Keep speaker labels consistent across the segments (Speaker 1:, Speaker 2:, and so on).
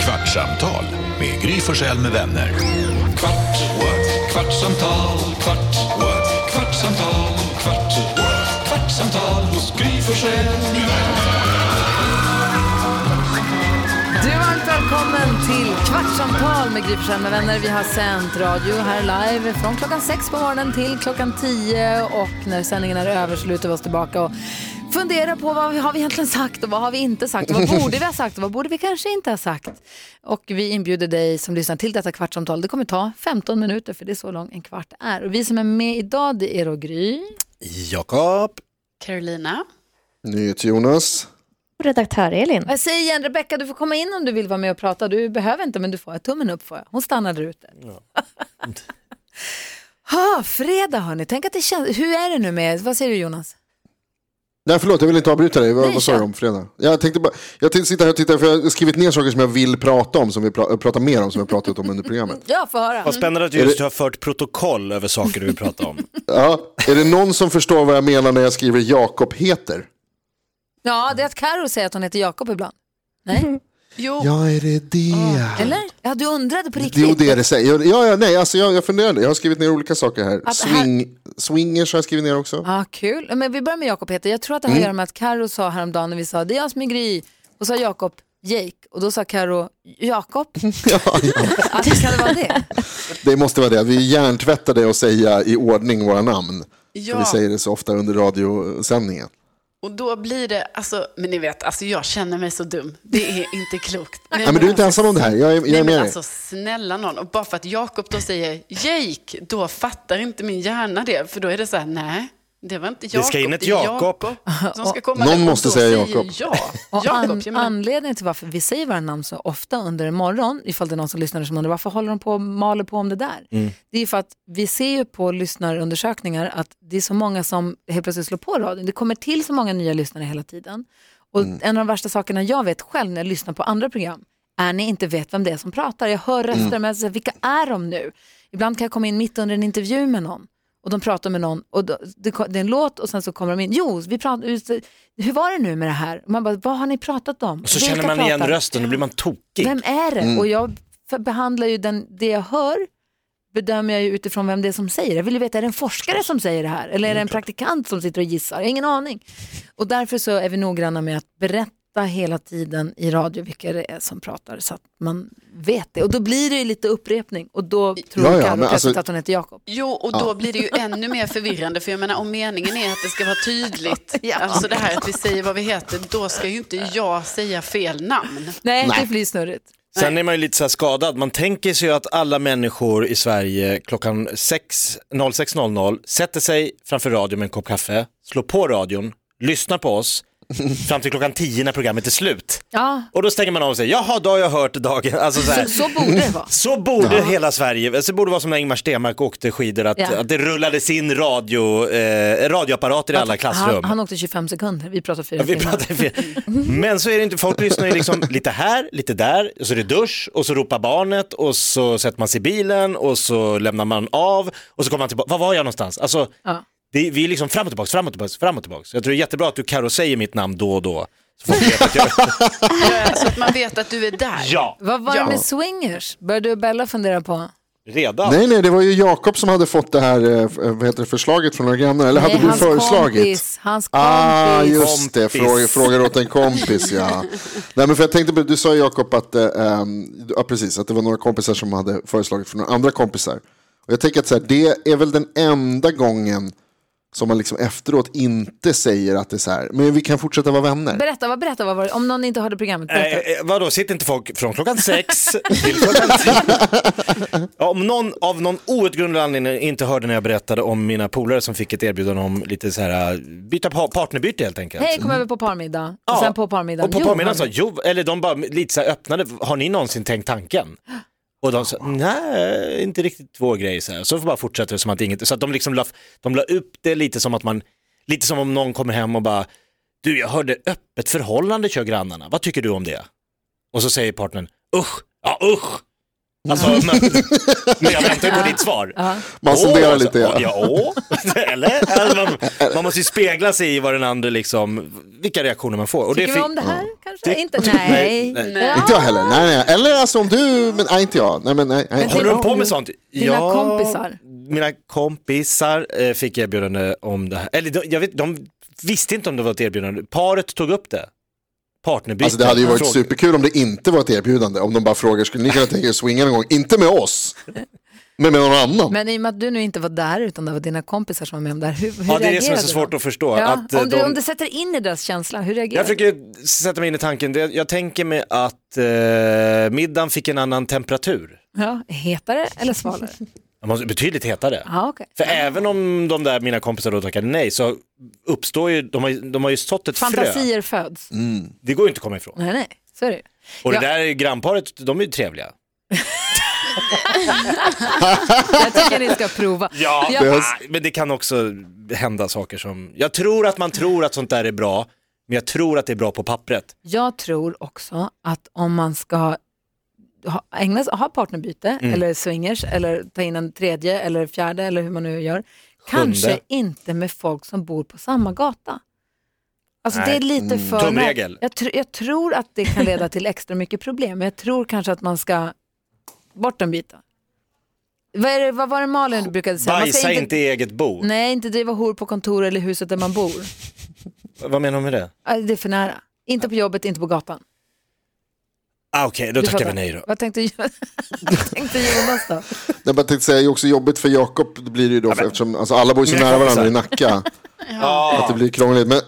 Speaker 1: Kvartsamtal med Gry Forssell med vänner. Kvart, what? kvartsamtal, kvart, what? kvartsamtal, kvart, what? kvartsamtal hos Gry Forssell med vänner.
Speaker 2: Du är varmt välkommen till Kvartsamtal med Gry Forssell med vänner. Vi har sänt radio här live från klockan sex på morgonen till klockan tio och när sändningen är över så lutar vi oss tillbaka och funderar på vad har vi egentligen sagt och vad har vi inte sagt och vad borde vi ha sagt och vad borde vi kanske inte ha sagt. Och vi inbjuder dig som lyssnar till detta Kvartsamtal. Det kommer ta 15 minuter för det är så lång en kvart är. Och vi som är med idag det är då Gry.
Speaker 3: Jakob.
Speaker 4: Carolina.
Speaker 5: NyhetsJonas.
Speaker 6: Redaktör Elin.
Speaker 2: Och Jag säger igen Rebecka, du får komma in om du vill vara med och prata. Du behöver inte men du får. Tummen upp får jag. Hon stannar där ute. Ha, fredag hörni, tänk att det känns, hur är det nu med, vad säger du Jonas?
Speaker 5: Nej förlåt, jag vill inte avbryta dig. Vad,
Speaker 2: Nej,
Speaker 5: vad sa
Speaker 2: kör.
Speaker 5: du om fredag? Jag tänkte bara, jag t- sitter här och tittar för jag har skrivit ner saker som jag vill prata om, som vi pra- pratar mer om, som vi har pratat om under programmet.
Speaker 2: Jag får höra.
Speaker 3: Vad spännande att du just har fört protokoll över saker du vill prata om.
Speaker 5: Ja, är det någon som förstår vad jag menar när jag skriver Jakob heter?
Speaker 2: Ja, det är att Karo säger att hon heter Jakob ibland.
Speaker 4: Jo,
Speaker 5: Ja, är det det?
Speaker 2: Eller? Ja, du undrade på riktigt.
Speaker 5: Ah. Jo, det är det. säg. Ja, ja, nej, alltså jag, jag funderade. Jag har skrivit ner olika saker här.
Speaker 2: Att det här-
Speaker 5: Swing, swingers har jag skrivit ner också.
Speaker 2: Ja, kul. Men vi börjar med Jakob heter. Jag tror att det har
Speaker 5: Mm.
Speaker 2: att göra med att Karo sa häromdagen när vi sa det är jag som är Gry och sa Jakob Jake och då sa Karo Jakob.
Speaker 5: Ja, ja.
Speaker 2: Att det kan det vara det?
Speaker 5: Det måste vara det. Vi är hjärntvättade att säga i ordning våra namn.
Speaker 4: Ja.
Speaker 5: Vi säger det så ofta under radiosändningen.
Speaker 4: och då blir det, alltså, men ni vet, alltså jag känner mig så dum. Det är inte klokt. Nej, alltså-
Speaker 5: Nej, men du är inte ensam om det här. Jag är, jag
Speaker 4: Nej,
Speaker 5: är med
Speaker 4: men
Speaker 5: dig.
Speaker 4: alltså snälla någon. Och bara för att Jakob då säger Jake, då fattar inte min hjärna det. För då är det så här, nej, det var inte Jakob.
Speaker 3: ska in ett
Speaker 4: är
Speaker 3: Jakob."
Speaker 4: som ska komma
Speaker 5: Någon
Speaker 4: där. Och
Speaker 5: måste
Speaker 4: då
Speaker 5: säga
Speaker 4: säger
Speaker 5: Jakob.
Speaker 4: Jag.
Speaker 2: Och
Speaker 4: Jakob,
Speaker 2: an,
Speaker 4: jag menar,
Speaker 2: anledningen till varför vi säger våra namn så ofta under en morgon, ifall det är någon som lyssnar som undrar varför håller de på och maler på om det där? Det är för att vi ser ju på lyssnarundersökningar att det är så många som helt plötsligt slår på radion. Det kommer till så många nya lyssnare hela tiden. Och en av de värsta sakerna jag vet själv när jag lyssnar på andra program är när jag inte vet vem det är som pratar. Jag hör röster, men jag säger, vilka är de nu? Ibland kan jag komma in mitt under en intervju med någon och de pratar med någon och då, det, ko- det är en låt och sen så kommer de in. Jo, vi pratar, hur var det nu med det här? Och man bara, vad har ni pratat om?
Speaker 3: Och så
Speaker 2: Vilka
Speaker 3: känner man igen
Speaker 2: pratar?
Speaker 3: rösten, då blir man tokig.
Speaker 2: Vem är det?
Speaker 5: Mm.
Speaker 2: Och jag för- behandlar ju den, det jag hör bedömer jag ju utifrån vem det är som säger det. Jag vill ju veta, är det en forskare som säger det här? Eller är det en
Speaker 5: Mm.
Speaker 2: praktikant som sitter och gissar? Jag har ingen aning. Och därför så är vi noggranna med att berätta hela tiden i radio vilka det är som pratar så att man vet det. Och då blir det ju lite upprepning och då tror
Speaker 5: Ja, ja,
Speaker 2: Carro
Speaker 5: men
Speaker 2: plötsligt
Speaker 5: alltså-
Speaker 2: att hon heter Jakob.
Speaker 4: Jo, och då blir det ju ännu mer förvirrande, för jag menar om meningen är att det ska vara tydligt,
Speaker 2: Ja.
Speaker 4: alltså det här att vi säger vad vi heter, då ska ju inte jag säga fel namn.
Speaker 2: Nej, det blir snurrigt.
Speaker 3: Sen är man ju lite så här skadad. Man tänker sig ju att alla människor i Sverige klockan 6, 06.00 sätter sig framför radion med en kopp kaffe, slår på radion, lyssnar på oss fram till klockan 10 när programmet är slut.
Speaker 2: Ja,
Speaker 3: Och då stänger man av sig. Jaha, då har jag hört dagen. Alltså så här.
Speaker 2: så, så borde det vara.
Speaker 3: Så borde hela Sverige, så borde det vara som när Ingmar Stenmark åkte skidor, att,
Speaker 2: Ja.
Speaker 3: att det rullades in radio, eh, radioapparater i alla klassrum.
Speaker 2: Han, han åkte 25 sekunder, vi pratar fyra
Speaker 3: Ja, vi
Speaker 2: timmar.
Speaker 3: pratar fel. Men så är det inte, folk lyssnar ju liksom lite här, lite där, och så är det dusch, och så ropar barnet, och så sätter man sig i bilen, och så lämnar man av, och så kommer man tillbaka, var var jag någonstans? Alltså,
Speaker 2: Ja.
Speaker 3: det, vi är liksom fram och tillbaka, fram och tillbaka, fram och tillbaka. Jag tror det är jättebra att du Karo säger mitt namn då och då. Så folk vet att jag...
Speaker 4: Ja, Så att man vet att du är där.
Speaker 3: Ja,
Speaker 2: Vad var
Speaker 4: Ja.
Speaker 2: det med swingers? Började du och Bella fundera på?
Speaker 3: redan.
Speaker 5: Nej, nej, det var ju Jakob som hade fått det här eh, f- vad heter det, förslaget från några grannar. Eller hade
Speaker 2: Nej,
Speaker 5: du
Speaker 2: hans
Speaker 5: föreslagit?
Speaker 2: Kompis, hans kompis.
Speaker 5: Ah, just det.
Speaker 3: Kompis.
Speaker 5: Fråga, frågar åt en kompis, ja. Nej, men för jag tänkte, på- du sa Jakob att, eh, ehm, ja, precis, att det var några kompisar som hade föreslagit för några andra kompisar. Och jag tänker att så här, det är väl den enda gången som man liksom efteråt inte säger att det är så här, men vi kan fortsätta vara vänner.
Speaker 2: Berätta, vad, berätta vad var det? om någon inte hörde programmet.
Speaker 3: Eh,
Speaker 2: Berätta.
Speaker 3: eh, vadå, sitter inte folk från klockan sex till klockan tio? Ja, Om någon av någon outgrundlig anledning inte hörde när jag berättade om mina polare som fick ett erbjudande om lite så här, eh, byta pa- partnerbyte helt enkelt.
Speaker 2: Hej, kom över på parmiddag.
Speaker 3: eh, Ja,
Speaker 2: Och sen på parmiddagen.
Speaker 3: Och på
Speaker 2: Jo,
Speaker 3: parmiddagen sa
Speaker 2: hörni.
Speaker 3: jo, eller de bara lite så här öppnade, har ni någonsin tänkt tanken? Och de sa, nej, inte riktigt vår grej. Så, här. så bara fortsätter det som att inget, så att de liksom la, de la upp det lite som att man, lite som om någon kommer hem och bara, du jag hörde öppet förhållande kör grannarna, vad tycker du om det? Och så säger partnern, usch, ja usch, Alltså, men, men jag väntar ju på ditt svar.
Speaker 5: Man
Speaker 3: Åh,
Speaker 5: sonderar
Speaker 3: alltså,
Speaker 5: lite,
Speaker 3: Ja,
Speaker 5: ja.
Speaker 3: ja åh. Eller? Alltså, man, man måste ju spegla sig i vad den andra liksom, vilka reaktioner man får. Och
Speaker 2: Tycker du
Speaker 3: fick-
Speaker 2: om det här kanske?
Speaker 3: Det-
Speaker 2: Inte?
Speaker 3: Nej,
Speaker 2: Nej.
Speaker 3: nej.
Speaker 2: Ja.
Speaker 5: Inte jag heller. Nej, nej. Eller alltså om du, men nej inte jag. Nej, men, nej, nej.
Speaker 2: det-
Speaker 3: Håller de på med sånt?
Speaker 2: Dina kompisar.
Speaker 3: Mina kompisar eh, fick erbjudande om det här. Eller de, jag vet, de visste inte om det var ett erbjudande. Paret tog upp det. Partnerbyte.
Speaker 5: Alltså det hade ju varit
Speaker 3: Fråga-
Speaker 5: superkul om det inte var ett erbjudande. Om de bara frågar, skulle ni kunna tänka er att swinga någon gång? Inte med oss, men med någon annan.
Speaker 2: Men i och med att du nu inte var där utan det var dina kompisar som var med om det här, hur, hur
Speaker 3: Ja, det är det som är
Speaker 2: reagerade
Speaker 3: så svårt
Speaker 2: de?
Speaker 3: att förstå.
Speaker 2: Ja,
Speaker 3: Att, eh,
Speaker 2: om, du,
Speaker 3: de-
Speaker 2: om du sätter in i deras känsla, hur reagerar
Speaker 3: Jag
Speaker 2: du?
Speaker 3: försöker sätta mig in i tanken. Det- Jag tänker mig att eh, middagen fick en annan temperatur.
Speaker 2: Ja, hetare eller svalare?
Speaker 3: Den var Betydligt hetare.
Speaker 2: Ja, okej.
Speaker 3: För även om de där mina kompisar då tackade nej så uppstår ju, de har ju, de har ju sått ett frö.
Speaker 2: Fantasier föds.
Speaker 3: Det går ju inte att komma ifrån.
Speaker 2: Nej, nej, så är det ju.
Speaker 3: Och det
Speaker 2: Ja.
Speaker 3: där är grannparet, de är ju trevliga.
Speaker 2: Jag tycker ni ska prova.
Speaker 3: Ja,
Speaker 2: Ja.
Speaker 3: ah, men det kan också hända saker som, jag tror att man tror att sånt där är bra, men jag tror att det är bra på pappret.
Speaker 2: Jag tror också att om man ska ha, ägna sig, ha partnerbyte
Speaker 3: Mm.
Speaker 2: eller swingers eller ta in en tredje eller fjärde eller hur man nu gör, kanske inte med folk som bor på samma gata. Alltså
Speaker 3: Nej. mm.
Speaker 2: det är lite för...
Speaker 3: Tumregel.
Speaker 2: Jag, tr- jag tror att det kan leda till extra mycket problem, men jag tror kanske att man ska bort en bit. Vad, är det, vad var det Malin brukade säga? Man ska
Speaker 3: Bajsa inte i eget bo.
Speaker 2: Nej, inte driva hor på kontor eller huset där man bor.
Speaker 3: Vad menar du med det?
Speaker 2: Äh, Det är för nära. Inte på jobbet, inte på gatan.
Speaker 3: Ah, Okej, då
Speaker 2: Du
Speaker 3: tackar vi
Speaker 2: fattar.
Speaker 3: nej då.
Speaker 2: Vad tänkte, vad tänkte Jonas då?
Speaker 5: Jag bara tänkte säga, det är också jobbigt för Jakob, det blir det ju då, för, eftersom alltså, alla bor ju så
Speaker 3: Mina
Speaker 5: nära varandra
Speaker 3: kompisar.
Speaker 5: i Nacka.
Speaker 3: Ah.
Speaker 5: Att det blir krångligt. Men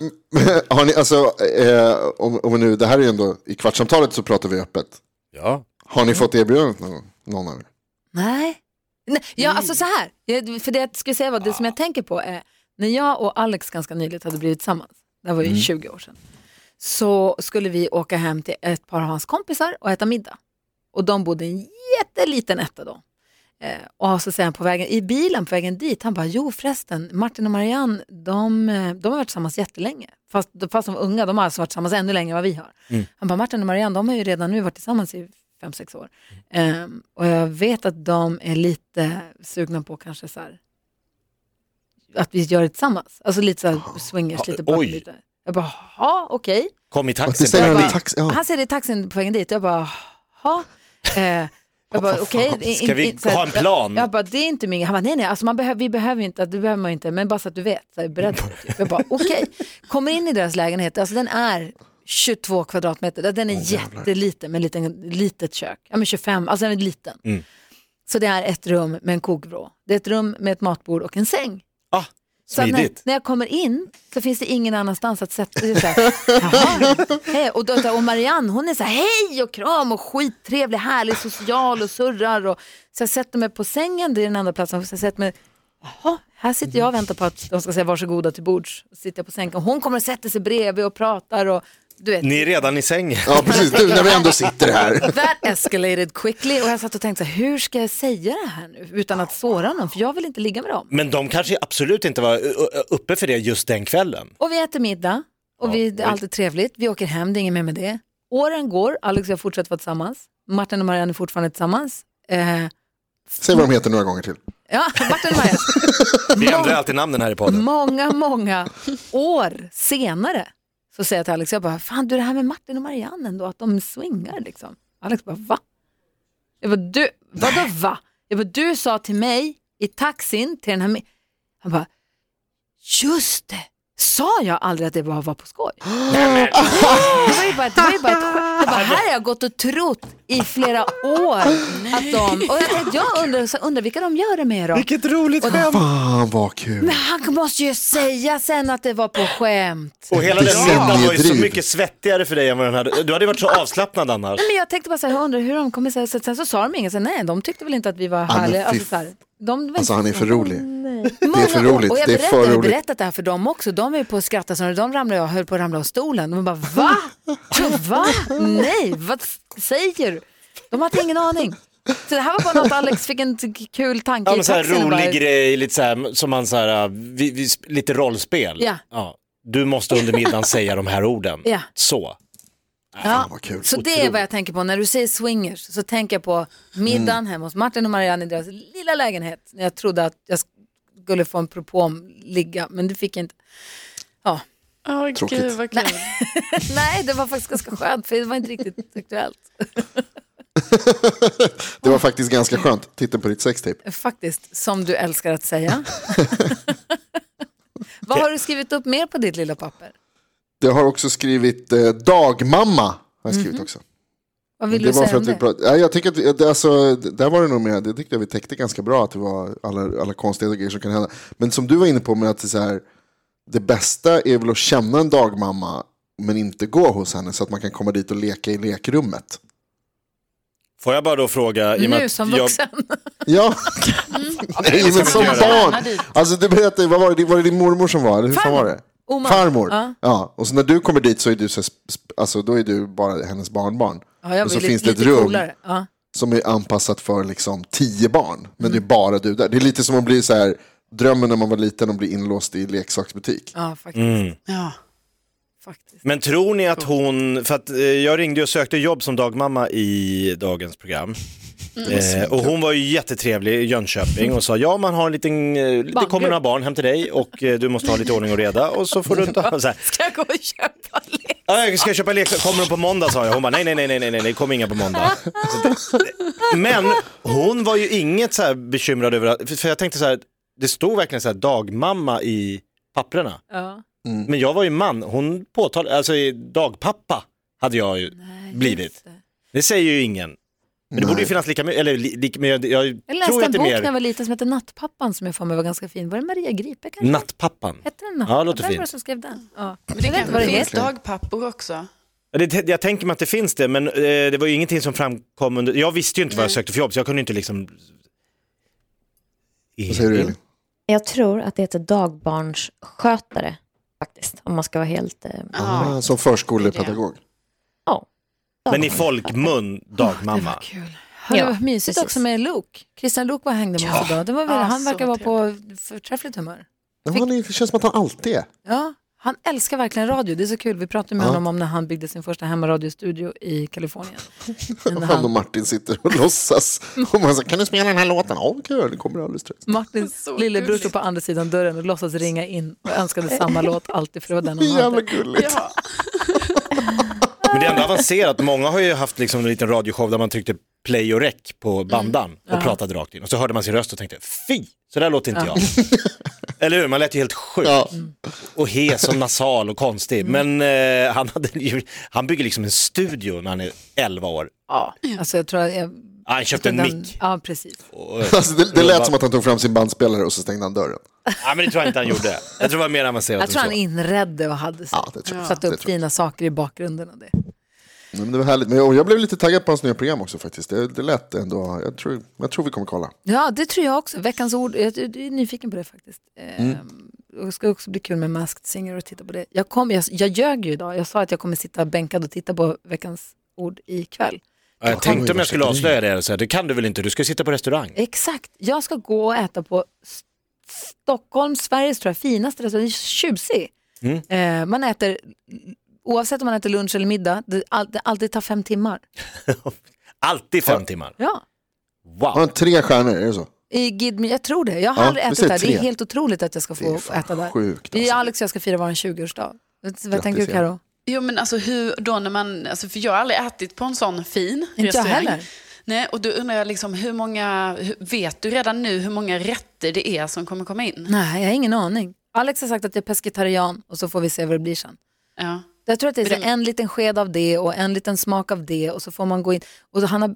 Speaker 5: har ni, alltså, eh, om, om vi nu, det här är ju ändå, i kvartssamtalet så pratar vi öppet.
Speaker 3: Ja.
Speaker 5: Har ni fått erbjudandet någon gång? Någon av er?
Speaker 2: Nej. Nej. Ja, alltså så här. Jag- För det jag skulle säga var, det som jag tänker på är, när jag och Alex ganska nyligt hade blivit tillsammans, det här var ju
Speaker 3: Mm.
Speaker 2: 20 år sedan, så skulle vi åka hem till ett par av hans kompisar och äta middag. Och de bodde i en jätteliten etta då. Eh, och så säger han på vägen, i bilen på vägen dit, han bara, jo förresten, Martin och Marianne, de, eh, de har varit tillsammans jättelänge. Fast, fast de var unga, de har alltså varit tillsammans ännu längre än vad vi har. Han bara, Martin och Marianne, de har ju redan nu varit tillsammans i fem, sex år. Ehm, och jag vet att de är lite sugna på kanske så här, att vi gör det tillsammans. Alltså lite så här swingers, lite
Speaker 3: Oj.
Speaker 2: partnerbyte. Jag bara, jaha, okej.
Speaker 3: Kom i
Speaker 5: Att det
Speaker 3: taxin.
Speaker 5: säger
Speaker 2: bara-
Speaker 5: han i taxi. Ja.
Speaker 2: Han säger det i taxin på vägen dit. Jag bara, jaha. Eh, jag bara, okej. in-
Speaker 3: Ska vi
Speaker 2: in- så här-
Speaker 3: ha en plan?
Speaker 2: Jag bara, det är inte min Han bara, nej nej, alltså man behöver, vi behöver inte, det behöver man inte, men bara så att du vet, så här, beredd på det. typ. Jag bara, okej. Kommer in i deras lägenhet, alltså den är 22 kvadratmeter, den är jätteliten med liten, litet kök. Ja men 25, alltså den är liten.
Speaker 3: Mm.
Speaker 2: Så det är ett rum med en kokvrå. Det är ett rum med ett matbord och en säng.
Speaker 3: Ah,
Speaker 2: Så att när,
Speaker 3: smidigt.
Speaker 2: när jag kommer in så finns det ingen annanstans att sätta sig. Så här, Jaha, hej. och, då, och Marianne hon är så här hej och kram och skittrevlig, härlig, social och surrar. Och, så jag sätter mig på sängen, det är den enda platsen. Så jag sätter mig, jaha, här sitter jag och väntar på att de ska säga varsågoda till bords. Så sitter jag på sängen, hon kommer och sätter sig bredvid och pratar och du vet.
Speaker 3: Ni är redan i sängen.
Speaker 5: ja, precis. Nu när vi ändå sitter här.
Speaker 2: That escalated quickly och jag satt och tänkte så här, hur ska jag säga det här nu utan att såra någon för jag vill inte ligga med dem.
Speaker 3: Men de kanske absolut inte var ö, ö, uppe för det just den kvällen.
Speaker 2: Och vi äter middag och vi, det är alltid trevligt. Vi åker hem, det är inget mer med det. Åren går, Alex och jag fortsätter vara tillsammans. Martin och Marianne är fortfarande tillsammans. Eh,
Speaker 5: Säg vad de heter några gånger till.
Speaker 2: ja, Martin och Marianne.
Speaker 3: Vi ändrar alltid namnen här i podden.
Speaker 2: Många, många år senare så säger jag till Alex, jag bara, fan du det här med Martin och Marianne ändå, att de swingar liksom. Alex bara, va? Jag bara, du, vadå va? Jag bara, du sa till mig i taxin till den här, mi-" han bara, just det, sa jag aldrig att det bara var på skoj? Det var ju bara, det var ju bara ett skämt. Jag bara, här har jag gått och trott i flera år att de, och jag, tänkte, jag undrar, så undrar vilka de gör det med då?
Speaker 3: Vilket roligt skämt.
Speaker 5: Fan vad kul.
Speaker 2: Men han måste ju säga sen att det var på skämt.
Speaker 3: Och hela den
Speaker 5: Ja.
Speaker 3: middagen var ju så
Speaker 5: Driv.
Speaker 3: mycket svettigare för dig än vad den hade. Du hade ju varit så avslappnad annars.
Speaker 2: Men jag tänkte bara så här, jag undrar hur de kommer säga, så sen så sa de inget, så nej de tyckte väl inte att vi var
Speaker 5: men
Speaker 2: härliga.
Speaker 5: fy
Speaker 2: Alltså, så här, de, var
Speaker 5: Alltså
Speaker 2: inte-
Speaker 5: han är för rolig.
Speaker 2: Många
Speaker 5: för
Speaker 2: år.
Speaker 5: roligt,
Speaker 2: Och jag
Speaker 5: det är
Speaker 2: berättade-
Speaker 5: för
Speaker 2: Jag har
Speaker 5: roligt.
Speaker 2: berättat det här för dem också, de är ju på att skratta så när de ramlade och höll på att ramla av stolen. De bara va? Så, va? Nej, vad säger du? De hade ingen aning. Så det här var bara något Alex fick en t- kul tanke
Speaker 3: Ja,
Speaker 2: i
Speaker 3: men så här
Speaker 2: taxin och
Speaker 3: rolig
Speaker 2: bara,
Speaker 3: grej, lite så här, som man så här, äh, vi, vi, sp- lite rollspel.
Speaker 2: Ja.
Speaker 3: Du måste under middagen säga de här orden.
Speaker 2: Ja.
Speaker 3: Så.
Speaker 2: Ja,
Speaker 5: vad kul.
Speaker 2: Så det är
Speaker 5: Otroligt.
Speaker 2: vad jag tänker på. När du säger swingers så tänker jag på middagen
Speaker 5: Mm.
Speaker 2: hemma hos Martin och Marianne i deras lilla lägenhet. När jag trodde att jag skulle få en propå om ligga, men det fick jag inte. Ja.
Speaker 4: Åh
Speaker 5: Tråkigt.
Speaker 4: gud vad kul.
Speaker 2: Nej, det var faktiskt ganska skönt för det var inte riktigt aktuellt.
Speaker 5: Det var faktiskt ganska skönt. Titta på ditt sextape.
Speaker 2: Faktiskt, som du älskar att säga. vad har du skrivit upp mer på ditt lilla papper?
Speaker 5: Jag har också skrivit eh, dagmamma. Har jag skrivit också.
Speaker 2: Vad Mhm. vill
Speaker 5: det
Speaker 2: du
Speaker 5: var
Speaker 2: säga
Speaker 5: för
Speaker 2: om
Speaker 5: att vi
Speaker 2: det?
Speaker 5: pratade, ja, jag tycker att vi, det- alltså, det- där var det nog mer, det tyckte jag vi täckte ganska bra, att det var alla, alla konstiga grejer som kan hända. Men som du var inne på med att det, är så här, det bästa är väl att känna en dagmamma, men inte gå hos henne, så att man kan komma dit och leka i lekrummet.
Speaker 3: Får jag bara då fråga, i och med
Speaker 2: Nu
Speaker 3: att
Speaker 2: som
Speaker 3: jag-
Speaker 2: vuxen.
Speaker 5: Ja, nej men som
Speaker 3: göra.
Speaker 5: barn. Alltså du berättade, vad var det, var det din mormor som var, eller hur fan var det?
Speaker 2: Oma.
Speaker 5: Farmor.
Speaker 2: Ja.
Speaker 5: Ja, och så när du kommer dit så är du, så här, sp- sp- alltså, då är du bara hennes barnbarn.
Speaker 2: Ja, jag
Speaker 5: och så
Speaker 2: vill
Speaker 5: finns
Speaker 2: lite,
Speaker 5: det ett
Speaker 2: lite
Speaker 5: rum
Speaker 2: coolare. Ja.
Speaker 5: som är anpassat för liksom tio barn. Men
Speaker 2: Mm.
Speaker 5: det är bara du där. Det är lite som att bli så här, drömmen när man var liten och bli inlåst i leksaksbutik.
Speaker 2: ja, faktiskt.
Speaker 5: Mm.
Speaker 4: Ja.
Speaker 2: faktiskt.
Speaker 3: Men tror ni att hon, för att eh, jag ringde och sökte jobb som dagmamma i dagens program.
Speaker 2: Mm.
Speaker 3: Eh, och hon var ju jättetrevlig i Jönköping och sa ja man har en liten, eh, det kommer några barn hem till dig och eh, du måste ha lite ordning och reda och så får du ta, så här,
Speaker 2: Ska jag gå och köpa lek?
Speaker 3: Ja, jag ska köpa leksaker, kommer de på måndag sa jag. Hon bara nej, nej, nej, nej, nej, nej, det kommer inga på måndag. Så det- Men hon var ju inget så här bekymrad över, att- för- för jag tänkte så här, det stod verkligen så här dagmamma i papprena.
Speaker 2: Ja.
Speaker 3: Men jag var ju man, hon påtalade, alltså i dagpappa hade jag ju blivit. Det säger ju ingen. Men det borde ju finnas lika mycket, eller li, lika, men jag, jag,
Speaker 2: Jag
Speaker 3: tror
Speaker 2: läste
Speaker 3: att
Speaker 2: en
Speaker 3: det
Speaker 2: bok
Speaker 3: är
Speaker 2: när jag
Speaker 3: mer
Speaker 2: var liten som hette Nattpappan som jag får mig var ganska fin. Var det Maria Gripe kanske?
Speaker 3: nattpappan.
Speaker 2: Hette den Nattpappan?
Speaker 3: Ja, det låter
Speaker 2: Vem var
Speaker 3: fint.
Speaker 2: det som skrev den? Ja.
Speaker 4: Men det
Speaker 2: jag vet inte vad
Speaker 4: kanske
Speaker 2: det
Speaker 4: finns
Speaker 2: heter.
Speaker 4: dagpappor också.
Speaker 3: Ja, Det, jag tänker mig att det finns det, men eh, det var ju ingenting som framkom under... Jag visste ju inte vad jag sökte för jobb, så jag kunde inte liksom...
Speaker 5: Vad säger du Elin?
Speaker 6: Jag tror att det heter dagbarnsskötare faktiskt, om man ska vara helt... Eh,
Speaker 5: Ah, som förskolepedagog.
Speaker 6: ja.
Speaker 3: Men i folkmun, dagmamma.
Speaker 2: Kul. Hörru,
Speaker 6: Ja,
Speaker 2: vad mysigt
Speaker 6: precis.
Speaker 2: också med Luke. Christian Luke var och hängde med oss idag. Det var väl,
Speaker 4: Ja,
Speaker 2: han
Speaker 4: så
Speaker 2: verkar vara på förträffligt humör.
Speaker 5: Ja, han är, det känns som att han alltid är.
Speaker 2: Ja, han älskar verkligen radio. Det är så kul. Vi pratade med honom om när han byggde sin första hemmaradiostudio i Kalifornien. Men
Speaker 5: Han och
Speaker 2: han,
Speaker 5: Martin sitter och låtsas. Och man säger, kan du spela den här låten? Ja, kul. Det kommer alldeles strax.
Speaker 2: Martins
Speaker 4: Så
Speaker 2: lillebror stod
Speaker 4: gulligt.
Speaker 2: på andra sidan dörren och låtsades ringa in och önskade samma låt alltid för det var den
Speaker 5: Det
Speaker 2: han
Speaker 5: är jävla
Speaker 2: hade.
Speaker 5: gulligt.
Speaker 4: Ja.
Speaker 3: Men det är ändå avancerat, många har ju haft liksom en liten radioshow där man tryckte play och rec på bandan och pratade rakt in. Och så hörde man sin röst och tänkte, fy, så där låter inte jag. Eller hur, man lät ju helt sjuk.
Speaker 5: Ja.
Speaker 3: Och hes och nasal och konstig. Men eh, han, hade, ju- han bygger liksom en studio när han är 11 år.
Speaker 2: Alltså jag tror att jag...
Speaker 3: Ah, han köpte en
Speaker 2: den-
Speaker 3: mick.
Speaker 2: Ja, precis.
Speaker 3: Och,
Speaker 5: Alltså, det, det lät som att han tog fram sin bandspelare och så stängde han dörren.
Speaker 3: Ja, men det tror jag inte han gjorde. Jag tror det var mer avancerat
Speaker 2: Jag tror
Speaker 3: än
Speaker 2: han
Speaker 3: så.
Speaker 2: inredde och hade sig.
Speaker 5: Ja, det tror jag.
Speaker 2: satt
Speaker 5: Det
Speaker 2: upp
Speaker 5: tror jag.
Speaker 2: fina saker i bakgrunden och det.
Speaker 5: Nej, Men det var härligt. Men jag, jag blev lite taggad på hans nya program också faktiskt. Det, det lät ändå. Jag tror, jag tror vi kommer kolla.
Speaker 2: Ja, det tror jag också. Veckans ord, jag, jag är nyfiken på det faktiskt.
Speaker 5: Mm.
Speaker 2: Ehm, och det ska också bli kul med Masked Singer och titta på det. Jag, kom, jag, jag ljög ju idag, jag sa att jag kommer sitta bänkad och titta på Veckans ord ikväll.
Speaker 3: Ja, Jag tänkte om jag skulle avslöja det, så här, det kan du väl inte, du ska sitta på restaurang.
Speaker 2: Exakt, jag ska gå och äta på S- Stockholm, Sveriges tror jag, finaste restaurang, Det är tjusig.
Speaker 5: Mm.
Speaker 2: Eh, man äter, oavsett om man äter lunch eller middag, det, all, det alltid tar fem timmar.
Speaker 3: Alltid fem timmar.
Speaker 2: Ja.
Speaker 5: Har
Speaker 3: Wow.
Speaker 5: han tre stjärnor? Är det så?
Speaker 2: I Gidmi, jag tror det. Jag har
Speaker 5: Ja,
Speaker 2: aldrig
Speaker 5: vi
Speaker 2: ätit
Speaker 5: säger
Speaker 2: där. Det är
Speaker 5: tre.
Speaker 2: helt otroligt att jag ska
Speaker 5: Det
Speaker 2: få
Speaker 5: är fan
Speaker 2: äta där.
Speaker 5: sjukt,
Speaker 2: Vi,
Speaker 5: alltså.
Speaker 2: Alex och jag ska fira vår 20-årsdag. Vad tänker du
Speaker 5: Grattis, ja.
Speaker 2: Karo?
Speaker 4: Jo men alltså hur då när man, alltså, för jag har aldrig ätit på en sån fin
Speaker 2: jag
Speaker 4: restaurang.
Speaker 2: heller.
Speaker 4: Nej, och då undrar jag liksom hur många, hur- vet du redan nu hur många rätter det är som kommer komma in?
Speaker 2: Nej, jag har ingen aning. Alex har sagt att jag är pescetarian och så får vi se vad det blir sen.
Speaker 4: Ja.
Speaker 2: Jag tror att det är
Speaker 4: Men
Speaker 2: så
Speaker 4: det-
Speaker 2: en liten sked av det och en liten smak av det och så får man gå in. Och så Hanna,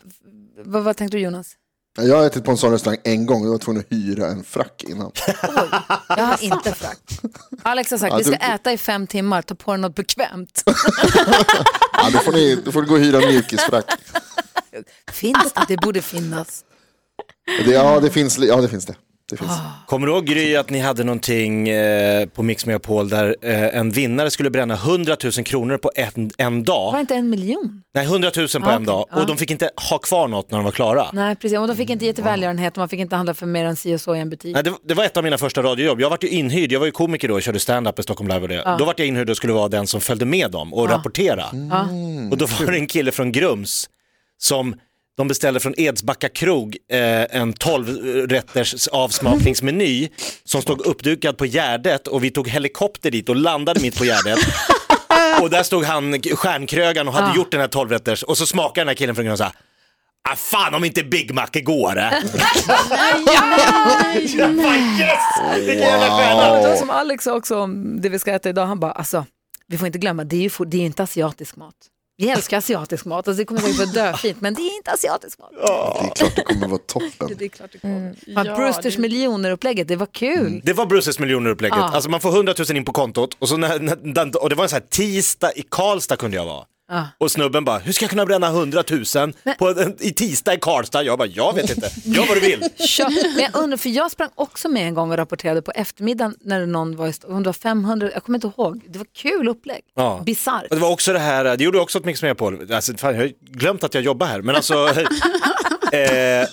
Speaker 2: vad, vad tänkte du Jonas?
Speaker 5: Ja, Jag har ätit på en sån restaurang en gång. Jag var tvungen att hyra en frack innan.
Speaker 2: Jag har inte frack. Alex har sagt
Speaker 5: Ja,
Speaker 2: vi ska
Speaker 5: du-
Speaker 2: äta i fem timmar, ta på dig något bekvämt.
Speaker 5: Ja, då, får ni, då får du gå och hyra en mjukisfrack.
Speaker 2: Finns det? Det borde finnas.
Speaker 5: Det, ja, det finns, li- ja, det finns det. det finns.
Speaker 3: Kommer du ihåg Gry att ni hade någonting eh, på Mix Megapol där eh, en vinnare skulle bränna 100 000 kronor på en, en dag?
Speaker 2: Var det inte en miljon?
Speaker 3: Nej, 100 000 på
Speaker 2: Ah,
Speaker 3: en dag.
Speaker 2: okej. Ja.
Speaker 3: Och de fick inte ha kvar något när de var klara.
Speaker 2: Nej, precis. Och de fick inte ge till välgörenhet och man fick inte handla för mer än si och så i en butik.
Speaker 3: Nej, det, det var ett av mina första radiojobb. Jag var ju inhyrd, jag var ju komiker då och körde stand-up i Stockholm Live och det. Då var jag inhyrd och skulle vara den som följde med dem och rapportera. Och då var det en kille från Grums som de beställde från Edsbacka krog eh, en 12-rätters avsmakningsmeny som stod uppdukad på Gärdet och vi tog helikopter dit och landade mitt på Gärdet. och där stod han, stjärnkrögan, och hade gjort den här 12-rätters och så smakade den här killen från Grums så här, Ah, fan om inte Big Mac går! Eh. Jag bara, yes! Vilken jävla stjärna!
Speaker 2: Det var som Alex sa också om det vi ska äta idag, han bara alltså, vi får inte glömma, det är ju, for, det är ju inte asiatisk mat. Vi älskar asiatisk mat, alltså, det kommer säkert vara döfint, men det är inte asiatisk mat.
Speaker 5: Det är klart det kommer vara toppen.
Speaker 2: Det är klart det kommer. Fan, Brewsters miljoner-upplägget, det var kul.
Speaker 3: Det var Bruces miljoner-upplägget. Alltså man får 100 000 in på kontot och, så när, när, den- och det var en sån här tisdag i Karlstad kunde jag vara. Och snubben bara, hur ska jag kunna bränna 100 000 på en, i tisdag i Karlstad? Jag bara, jag vet inte. Gör vad du vill.
Speaker 2: Kör. Men jag undrar, för jag sprang också med en gång och rapporterade på eftermiddagen när någon var i st- om det var 500, jag kommer inte ihåg. Det var kul upplägg.
Speaker 3: Ja.
Speaker 2: Bisarrt.
Speaker 3: Och det var också det här, det gjorde jag också ett Mix Megapol, alltså, fan, jag har ju glömt att jag jobbar här, men alltså... eh,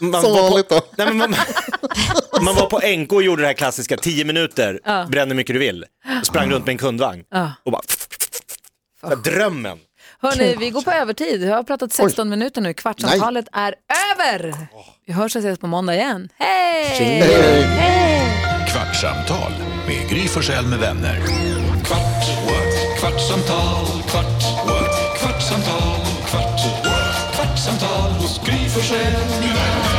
Speaker 3: man
Speaker 5: Som
Speaker 3: var på-
Speaker 5: vanligt då.
Speaker 3: Nej, men man, man var på NK och gjorde det här klassiska, 10 minuter, bränn hur mycket du vill, sprang runt med en kundvagn och bara... Så här, drömmen!
Speaker 2: Hörni, vi går på övertid. Jag har pratat 16 minuter nu. Kvartsamtalet är över. Vi hörs och ses på måndag igen. Hej!
Speaker 1: Kvartsamtal med Gry Forssell med vänner. Kvart, what? kvartsamtal, kvart, what? kvartsamtal, kvart, what? kvartsamtal hos Gry Forssell med vänner.